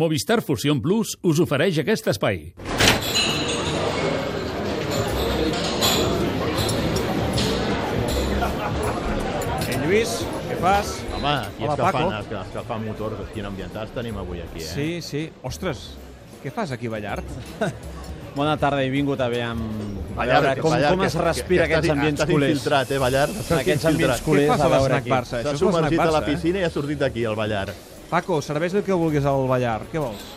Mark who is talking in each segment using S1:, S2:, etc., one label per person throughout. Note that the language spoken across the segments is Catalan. S1: Movistar Fusion Plus us ofereix aquest espai.
S2: Ei, Lluís, què fas?
S3: Home, i
S2: Hola,
S3: escalfant,
S2: Paco.
S3: escal- escalfant motors, quin ambientats tenim avui aquí, eh?
S2: Sí, sí. Ostres, què fas aquí, Ballart?
S4: Bona tarda i vingut a veure amb... a
S3: Ballart,
S4: veure com,
S3: Ballart,
S4: com
S3: que-
S4: es
S3: que-
S4: respira
S3: que
S4: aquests
S3: estàs-
S4: ambients
S3: Estàs
S4: culers.
S3: infiltrat, eh, Ballart? Estàs
S4: Aquests ambients
S3: infiltrat.
S2: Què
S4: culers
S2: fas
S4: a
S2: a
S4: veure
S2: l'esnac
S4: aquí.
S2: Barça? Això
S3: S'ha
S2: és l'esnac
S3: submergit a
S2: Barça,
S3: la piscina i ha sortit d'aquí, el Ballart.
S2: Eh? Paco, serveix el que vulguis al Ballart. Què vols?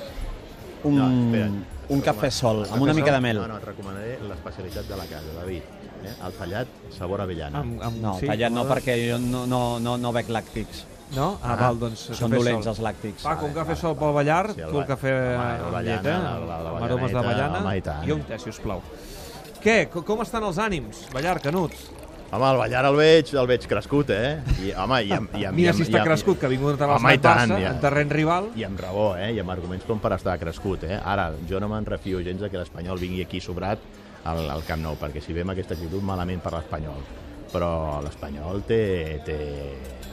S4: Un,
S3: No, espera.
S4: Mm, un cafè sol, amb una
S3: Cafè
S4: mica
S3: sol?
S4: de mel.
S3: No, no, et recomanaré l'especialitat de la casa, David. Eh? El tallat sabor avellana.
S2: Amb, amb,
S4: No, tallat no,
S2: amb-
S4: perquè jo no, no, no, no bec làctics.
S2: No? Ah, val, doncs...
S4: Són
S2: cafè
S4: dolents
S2: sol.
S4: els làctics.
S2: Paco, un cafè sol pel Ballart,
S3: Sí, el
S2: tu el
S3: ba-
S2: cafè
S3: home, la
S2: amb
S3: avellana,
S2: llet, eh?
S3: la- la- la
S2: Amb aromes
S3: avellaneta,
S2: d'avellana.
S3: home, i tant.
S2: I un te, si us plau. Què? Co- Com estan els ànims, Ballart, Canut?
S3: Home, el Ballart el veig, el veig crescut, eh? I, home, i amb... I amb i
S2: Mira
S3: amb-
S2: si
S3: i
S2: està
S3: amb-
S2: crescut, que ha vingut a
S3: Home, i
S2: l'esnac
S3: tant,
S2: Barça,
S3: ja.
S2: en terreny rival.
S3: I amb raó, eh? I amb arguments com per estar crescut, eh? Ara, jo no me'n refio gens de que l'Espanyol vingui aquí sobrat al, al Camp Nou, perquè si ve amb aquesta actitud, malament per l'Espanyol. Però l'Espanyol té, té,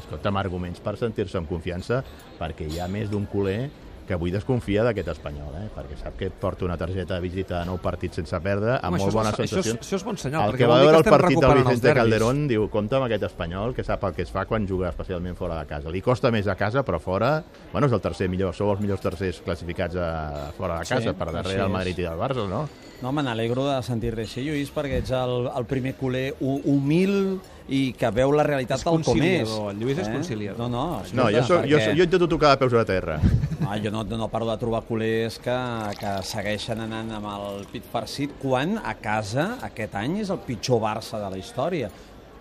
S3: escolta'm, arguments per sentir-se amb confiança, perquè hi ha més d'un culer que avui desconfia d'aquest espanyol, eh? perquè sap que porta una targeta de visita a nou partits sense perdre,
S2: Home,
S3: amb molt
S2: això és-
S3: bones
S2: això és-
S3: sensacions.
S2: això és bon senyal,
S3: el
S2: perquè
S3: que
S2: vol
S3: va
S2: dir que
S3: veure el
S2: estem
S3: partit del
S2: recuperant els
S3: Vicente
S2: derbis.
S3: Calderón Joan diu, compta amb aquest espanyol, que sap el que es fa quan juga especialment fora de casa. Li costa més a casa, però fora... Bueno, és el tercer millor, sou els millors tercers classificats a, fora de casa,
S4: Sí,
S3: per
S4: així
S3: darrere del
S4: és.
S3: Madrid i del Barça, no?
S4: No, me n'alegro de sentir-te així, Lluís, perquè ets el, el primer culer hu- humil i que veu la realitat
S2: És
S4: tal com és. Eh?
S2: conciliador, el Lluís és conciliador.
S4: No, no,
S3: No, jo, soc, jo, soc, jo intento tocar de peus a la terra.
S4: Ah, jo no, no paro de trobar culers que, que segueixen anant amb el pit farcit quan a casa aquest any és el pitjor Barça de la història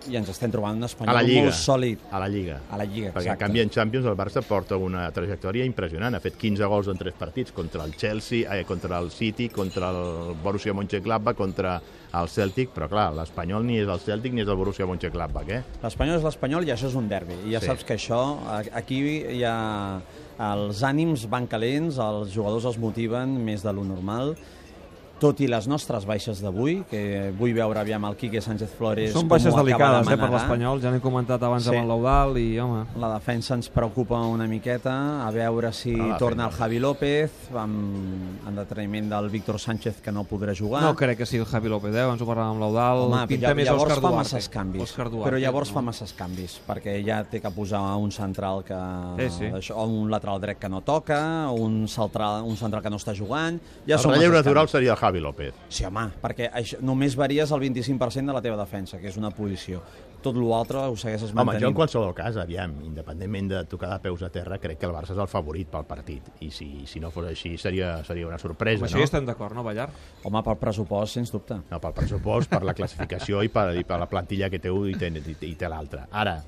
S4: i ens estem trobant un
S3: A
S4: espanyol
S3: la Lliga.
S4: molt sòlid.
S3: A la Lliga.
S4: A la Lliga,
S3: Perquè, en
S4: exacte.
S3: canvi, en Champions el Barça porta una trajectòria impressionant. Ha fet 15 gols en 3 partits contra el Chelsea, eh, contra el City, contra el Borussia Mönchengladbach, contra el Celtic, però clar, l'Espanyol ni és el Celtic ni és el Borussia Mönchengladbach, eh?
S4: L'Espanyol és l'Espanyol i això és un derbi. I ja
S3: Sí.
S4: sí. saps que això, a- aquí hi ha... Els ànims van calents, els jugadors els motiven més de lo normal, tot i les nostres baixes d'avui, que vull veure aviam el Quique Sánchez Flores...
S2: Són
S4: com
S2: baixes
S4: ho acaba
S2: delicades,
S4: de
S2: eh, per
S4: manegar.
S2: l'Espanyol. Ja n'he comentat abans
S4: Sí.
S2: amb l'Eudal i, home...
S4: La defensa ens preocupa una miqueta, a veure si
S2: Ah,
S3: la
S4: torna el
S3: defensa.
S4: Javi López, amb, en deteniment del Víctor Sánchez, que no podrà jugar.
S2: No crec que sigui el Javi López, eh? abans ho parlàvem amb l'Eudal.
S4: Home,
S2: Pinta
S4: lla-
S2: més
S4: llavors
S2: Òscar
S4: fa
S2: Duarte.
S4: masses canvis.
S2: Òscar Duarte,
S4: Però llavors
S2: no?
S4: fa masses canvis, perquè ja té que posar un central que...
S2: Sí, sí.
S4: Això, o un lateral dret que no toca, o un central, un central que no està jugant... Ja
S3: El
S4: són
S3: relleu
S4: masses
S3: natural
S4: canvis.
S3: seria el Javi López.
S4: Sí, home, perquè això, només varies el 25% de la teva defensa, que és una posició. Tot l'altre ho segueixes
S3: Home,
S4: mantenint.
S3: jo en qualsevol cas, aviam, independentment de tocar de peus a terra, crec que el Barça és el favorit pel partit. I si, si no fos així, seria, seria una sorpresa,
S2: Amb això
S3: no?
S2: hi estem d'acord, no, Ballar?
S4: Home, pel pressupost, sens dubte.
S3: No, pel pressupost, per la classificació i per, i per la plantilla que té un i té, i té- i té l'altre. Ara,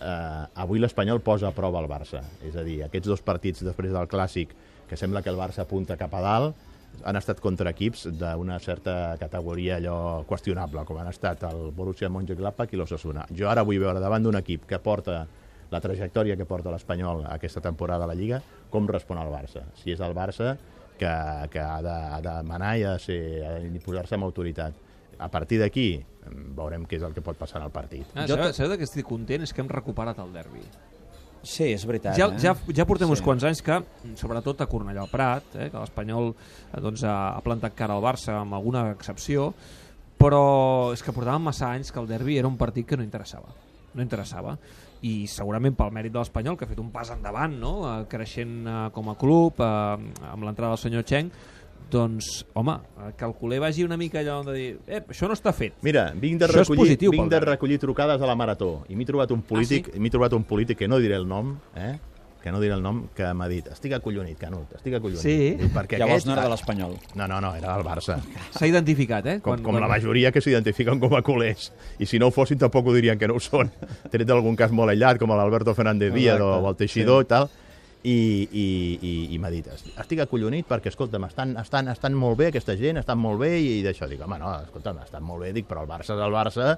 S3: eh, avui l'Espanyol posa a prova el Barça. És a dir, aquests dos partits després del Clàssic, que sembla que el Barça apunta cap a dalt, han estat contra equips d'una certa categoria allò qüestionable, com han estat el Borussia Mönchengladbach i l'Ossassuna. Jo ara vull veure davant d'un equip que porta la trajectòria que porta l'Espanyol aquesta temporada a la Lliga, com respon el Barça. Si és el Barça que, que ha, de, ha de manar i ha de, ser, ha de posar-se amb autoritat. A partir d'aquí mm, veurem què és el que pot passar en el partit.
S2: Ah,
S4: Jo
S2: sabeu, sabeu de què estic content? És que hem recuperat el derbi.
S4: Sí, és veritat.
S2: Ja,
S4: eh?
S2: ja, ja portem sí. uns
S4: Sí.
S2: quants anys que, sobretot a Cornellà al Prat, eh, que l'Espanyol eh, doncs, ha, ha plantat cara al Barça amb alguna excepció, però és que portàvem massa anys que el derbi era un partit que no interessava. No interessava. I segurament pel mèrit de l'Espanyol, que ha fet un pas endavant, no? eh, creixent eh, com a club, eh, amb l'entrada del senyor Cheng, doncs, home, eh, que el culer vagi una mica allò de dir eh, això no està fet.
S3: Mira, vinc de
S2: Això és
S3: recollir,
S2: positiu pel
S3: vinc de
S2: Barça.
S3: recollir trucades a la Marató i m'he trobat un polític, ah, sí? m'he trobat un polític que no diré el nom, eh? que no diré el nom, que m'ha dit, estic acollonit, Canut, estic acollonit.
S2: Sí.
S3: Dic, perquè
S4: Llavors
S3: aquest...
S4: no era de l'Espanyol.
S3: No, no, no, era del Barça.
S2: S'ha identificat, eh?
S3: Com, com la majoria que s'identifiquen com a culers. I si no ho fossin, tampoc ho dirien que no ho són. Tret d'algun cas molt aïllat, com l'Alberto Fernández Díaz o el Teixidor i tal. I, i, i, i m'ha dit, estic acollonit perquè, escolta'm, estan, estan, estan molt bé aquesta gent, estan molt bé, i d'això dic, home, no, escolta'm, estan molt bé, dic, però el Barça és el Barça,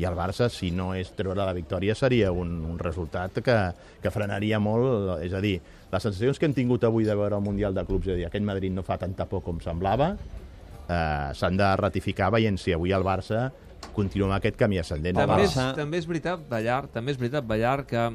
S3: i el Barça, si no és treure la victòria, seria un, un resultat que, que frenaria molt, és a dir, les sensacions que hem tingut avui de veure el Mundial de Clubs, és a dir, aquest Madrid no fa tanta por com semblava, eh, s'han de ratificar veient si avui el Barça continua amb aquest camí ascendent.
S4: El
S2: També és,
S4: Barça-
S2: també és veritat, Ballar, també és veritat, Ballar, que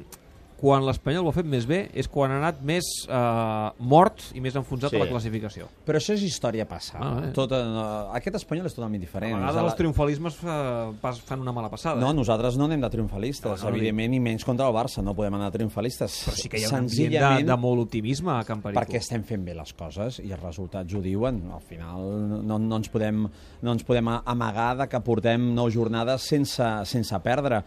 S2: quan l'Espanyol ho ha fet més bé és quan ha anat més eh, mort i més enfonsat
S3: Sí.
S2: sí. a la classificació.
S4: Però això és història passada.
S2: Ah, eh.
S4: Tot, eh, aquest espanyol és totalment
S2: A
S4: diferent.
S2: vegades
S4: Nosaltres-
S2: els triomfalismes eh, pas- fan una mala passada.
S4: No,
S2: eh?
S4: nosaltres no anem de triomfalistes,
S2: No, no,
S4: evidentment, i menys contra el Barça. No podem anar de triomfalistes.
S2: Però sí que hi ha un ambient de, de molt optimisme a Can Perico.
S4: perquè estem fent bé les coses i els resultats ho diuen. Al final no, no, ens, podem, no ens podem amagar de que portem nou jornades sense, sense perdre.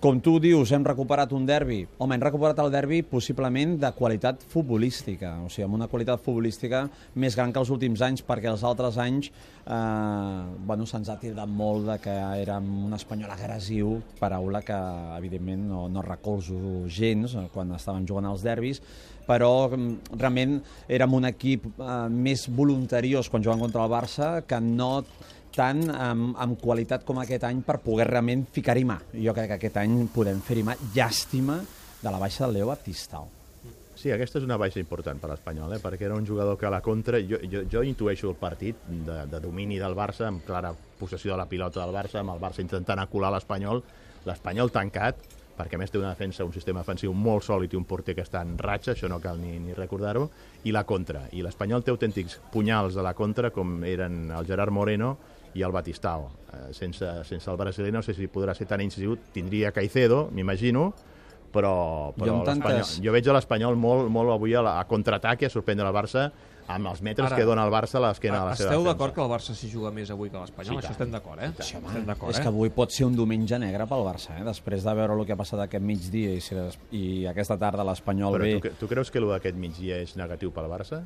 S4: Com tu dius, hem recuperat un derbi. Home, hem recuperat el derbi possiblement de qualitat futbolística, o sigui, amb una qualitat futbolística més gran que els últims anys, perquè els altres anys eh, bueno, se'ns ha tirat molt de que érem un espanyol agressiu, paraula que evidentment no, no recolzo gens eh, quan estàvem jugant als derbis, però mm, realment érem un equip eh, més voluntariós quan jugàvem contra el Barça que no tant amb, amb qualitat com aquest any per poder realment ficar-hi mà. Jo crec que aquest any podem fer-hi mà. Llàstima de la baixa del Leo Baptistao.
S3: Sí, aquesta és una baixa important per l'Espanyol, eh? perquè era un jugador que a la contra... Jo, jo, jo intueixo el partit de, de domini del Barça, amb clara possessió de la pilota del Barça, amb el Barça intentant acular l'Espanyol, l'Espanyol tancat, perquè a més té una defensa, un sistema defensiu molt sòlid i un porter que està en ratxa, això no cal ni, ni recordar-ho, i la contra. I l'Espanyol té autèntics punyals de la contra, com eren el Gerard Moreno i el Batistao. Eh, sense, sense el brasiler no sé si podrà ser tan incisiu, tindria Caicedo, m'imagino, però,
S4: Jo
S3: però
S4: amb tantes-
S3: l'Espanyol- jo veig a l'Espanyol molt, molt avui a, la, a contraatac i a sorprendre el Barça amb els metres
S2: Ara-
S3: Ara, que dona el Barça a l'esquena de la seva
S2: Esteu
S3: defensa.
S2: d'acord que el Barça s'hi juga més avui que l'Espanyol?
S3: Sí,
S2: Això
S3: tant.
S2: estem d'acord, eh?
S4: Sí, home,
S2: estem d'acord,
S4: és
S2: eh?
S4: que avui pot ser un diumenge negre pel Barça, eh? després de veure el que ha passat aquest migdia i, si les- i aquesta tarda l'Espanyol
S3: Però
S4: bé.
S3: tu, cre- tu creus que allò d'aquest migdia és negatiu pel Barça?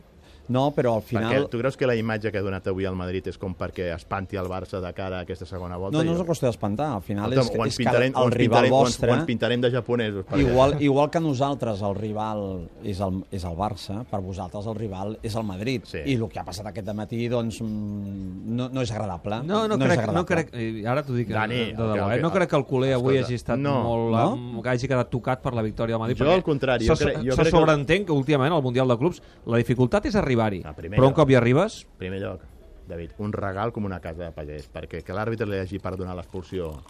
S4: No, però al
S3: Final... Perquè
S4: final...
S3: tu creus que la imatge que ha donat avui al Madrid és com perquè espanti el Barça de cara a aquesta segona volta?
S4: No, no és
S3: Jo-
S4: una qüestió d'espantar, al final és,
S3: Escolta'm, o
S4: que-
S3: ens
S4: és que
S3: pintarem, o
S4: el
S3: ens
S4: rival
S3: pintarem, o ens-
S4: vostre...
S3: O ens pintarem de japonesos. perquè-
S4: Igual, igual que nosaltres el rival és el, és el Barça, per vosaltres el rival és el Madrid.
S3: Sí.
S4: I el que ha passat aquest matí doncs, mm, no, no és agradable.
S2: No, no,
S4: és
S2: crec,
S4: agradable.
S2: no crec, eh, ara t'ho dic eh,
S3: Dani,
S2: de debò,
S3: el que-
S2: eh? no crec que el culer avui
S3: Escolta,
S2: hagi estat
S3: no.
S2: molt,
S4: No?
S2: no? que hagi quedat tocat per la victòria del Madrid.
S3: Jo,
S2: perquè
S3: al contrari, jo
S2: se-
S3: crec-
S2: se
S3: jo crec que-
S2: sobreentén que últimament al Mundial de Clubs la dificultat és arribar-hi,
S3: A primera.
S2: però un cop hi arribes...
S3: En primer lloc, David, un regal com una casa de pagès, perquè que l'àrbitre li hagi perdonat l'expulsió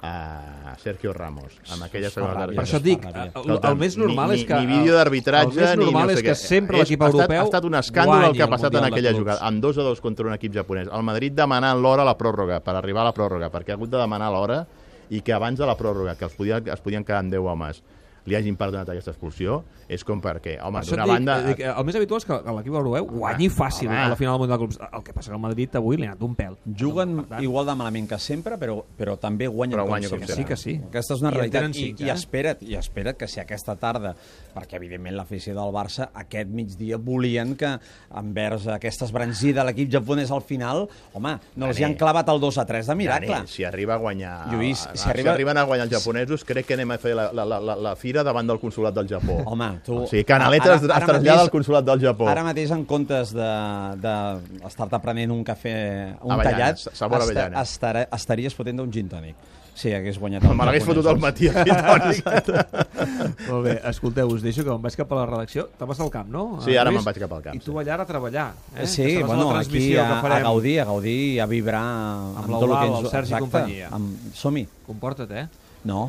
S3: a Sergio Ramos amb aquella segona
S4: ràbia,
S3: targeta.
S2: Per això
S4: fa
S2: et dic,
S4: ràbia.
S2: el, el més normal
S3: ni,
S2: és que...
S3: Ni, ni vídeo
S2: el
S3: d'arbitratge,
S2: més
S3: ni
S2: normal
S3: no sé
S2: és que
S3: què.
S2: sempre l'equip
S3: ha estat-
S2: europeu
S3: Ha estat un escàndol el
S2: guanyi
S3: que ha
S2: el
S3: passat en
S2: Mundial de
S3: aquella
S2: Clubs.
S3: jugada, Ah, amb dos a dos contra un equip japonès. El Madrid demanant l'hora a la pròrroga, per arribar a la pròrroga, perquè ha hagut de demanar l'hora i que abans de la pròrroga, que els podia, es podien quedar amb 10 homes, li hagin perdonat aquesta expulsió, és com perquè, home,
S2: Per això et
S3: d'una
S2: dic, eh,
S3: banda...
S2: dic, el més habitual és que l'equip europeu guanyi fàcil
S3: home.
S2: a la final del Mundial de Clubs. El que passa que el Madrid avui li ha anat un pèl.
S4: Juguen
S2: Per tant,
S4: igual de malament que sempre, però, però també guanyen
S3: Però
S4: com
S3: guanyo com
S4: sempre.
S2: que sí, que sí.
S4: Aquesta és una
S2: I en
S4: realitat.
S2: tenen cinc,
S4: I, i,
S2: eh?
S4: espera't, I espera't que si aquesta tarda, perquè evidentment l'afició del Barça aquest migdia volien que envers aquesta esbranzida de l'equip japonès al final, home, no els hi
S3: Dani.
S4: han clavat el 2 a 3 de miracle.
S3: Dani, si arriba a guanyar...
S4: Lluís,
S3: a,
S4: si
S3: si, arriba...
S4: arriba-
S3: si arriben a guanyar els japonesos, crec que anem a fer la, la, la, la, la fira davant del consulat del Japó.
S4: Home, tu...
S3: O sigui, Canaleta es, es trasllada al consulat del Japó.
S4: Ara mateix, en comptes d'estar-te de, prenent un cafè, un
S3: Avellanes,
S4: tallat,
S3: sabor avellana.
S4: estar, estaries fotent d'un gin tònic. Si hagués guanyat
S3: Me l'hagués fotut al matí, el pitònic.
S2: Molt bé, escolteu, us deixo que me'n vaig cap a la redacció. Te'n vas al camp, no?
S3: Sí, ara
S2: Lluís?
S3: me'n vaig cap al camp,
S2: I tu allà ara a treballar. Eh? Que
S4: Sí,
S2: seràs a
S4: bueno,
S2: la
S4: aquí
S2: transmissió
S4: a,
S2: que
S4: a
S2: farem.
S4: gaudir, a gaudir i a vibrar amb, tot el
S2: l'Eudald,
S4: que ens...
S2: el Sergi i companyia.
S4: Amb... Som-hi?
S2: Comporta't, eh?
S4: No,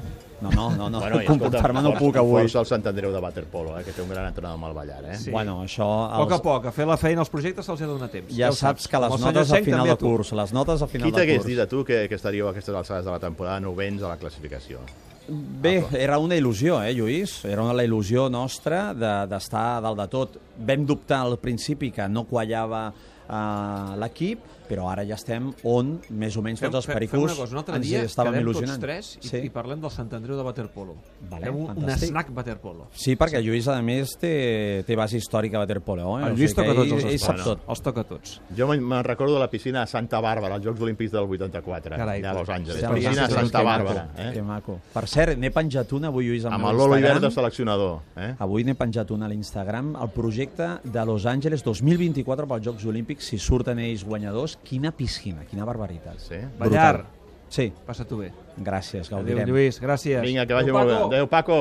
S4: no, no, no, no.
S3: i escolta,
S4: comportar-me no
S3: força-
S4: puc avui.
S3: Força el Sant Andreu de Waterpolo, eh, que té un gran entrenador amb el Ballar. Eh?
S2: Sí.
S4: Bueno, això...
S2: A poc a poc, a fer la feina, els projectes se'ls ha de donar temps.
S4: Ja
S2: ho
S4: saps que
S2: Com
S4: les
S2: el senyor
S4: notes al
S2: Schenk,
S4: final
S2: també
S4: de
S2: a tu.
S4: curs, les notes al final
S3: Qui
S4: de
S3: t'hagués
S4: curs.
S3: dit a tu que, que estaríeu a aquestes alçades de la temporada novens a la classificació?
S4: Bé, era una il·lusió, eh, Lluís? Era una la il·lusió nostra de- d'estar de, dalt de tot. Vam dubtar al principi que no quallava eh, l'equip, però ara ja estem on més o menys
S2: Fem,
S4: tots els
S2: fem, fem
S4: pericurs
S2: una cosa, un altre
S4: ens hi
S2: dia
S4: estàvem
S2: quedem
S4: il·lusionant.
S2: tots tres i,
S4: sí.
S2: i parlem del Sant Andreu de Waterpolo.
S4: Vale,
S2: fem un, un
S4: fantàstic.
S2: snack Waterpolo.
S4: sí, perquè Lluís, a més, té, té base històrica a Waterpolo. Eh?
S2: El
S4: O
S2: Lluís
S4: sigui
S2: toca
S4: que
S2: tots
S4: ell,
S2: els
S4: ell sap
S2: esports.
S4: tot.
S2: Els toca tots.
S3: Jo me'n me'n recordo de la piscina de Santa Bàrbara, als Jocs Olímpics del 84,
S2: Carai,
S3: allà a Los Angeles.
S2: Santa
S3: piscina de
S2: Bàrbara,
S3: Santa
S4: que
S3: Bàrbara.
S4: maco, Que
S3: Eh?
S4: maco. Per cert, n'he penjat una avui, Lluís,
S3: Amb
S4: el
S3: el Lolo
S4: Instagram.
S3: Iber de seleccionador. Eh?
S4: Avui n'he penjat una a l'Instagram, el projecte de Los Angeles 2024 pels Jocs Olímpics, si surten ells guanyadors, quina piscina, quina barbaritat.
S3: Sí.
S2: Ballar,
S4: Sí,
S2: passa tu bé.
S4: gràcies,
S2: Adéu,
S4: gaudirem.
S2: Lluís, gràcies.
S3: Vinga, que vagi
S2: Adéu,
S3: molt bé.
S2: Paco.
S3: Adéu, Paco.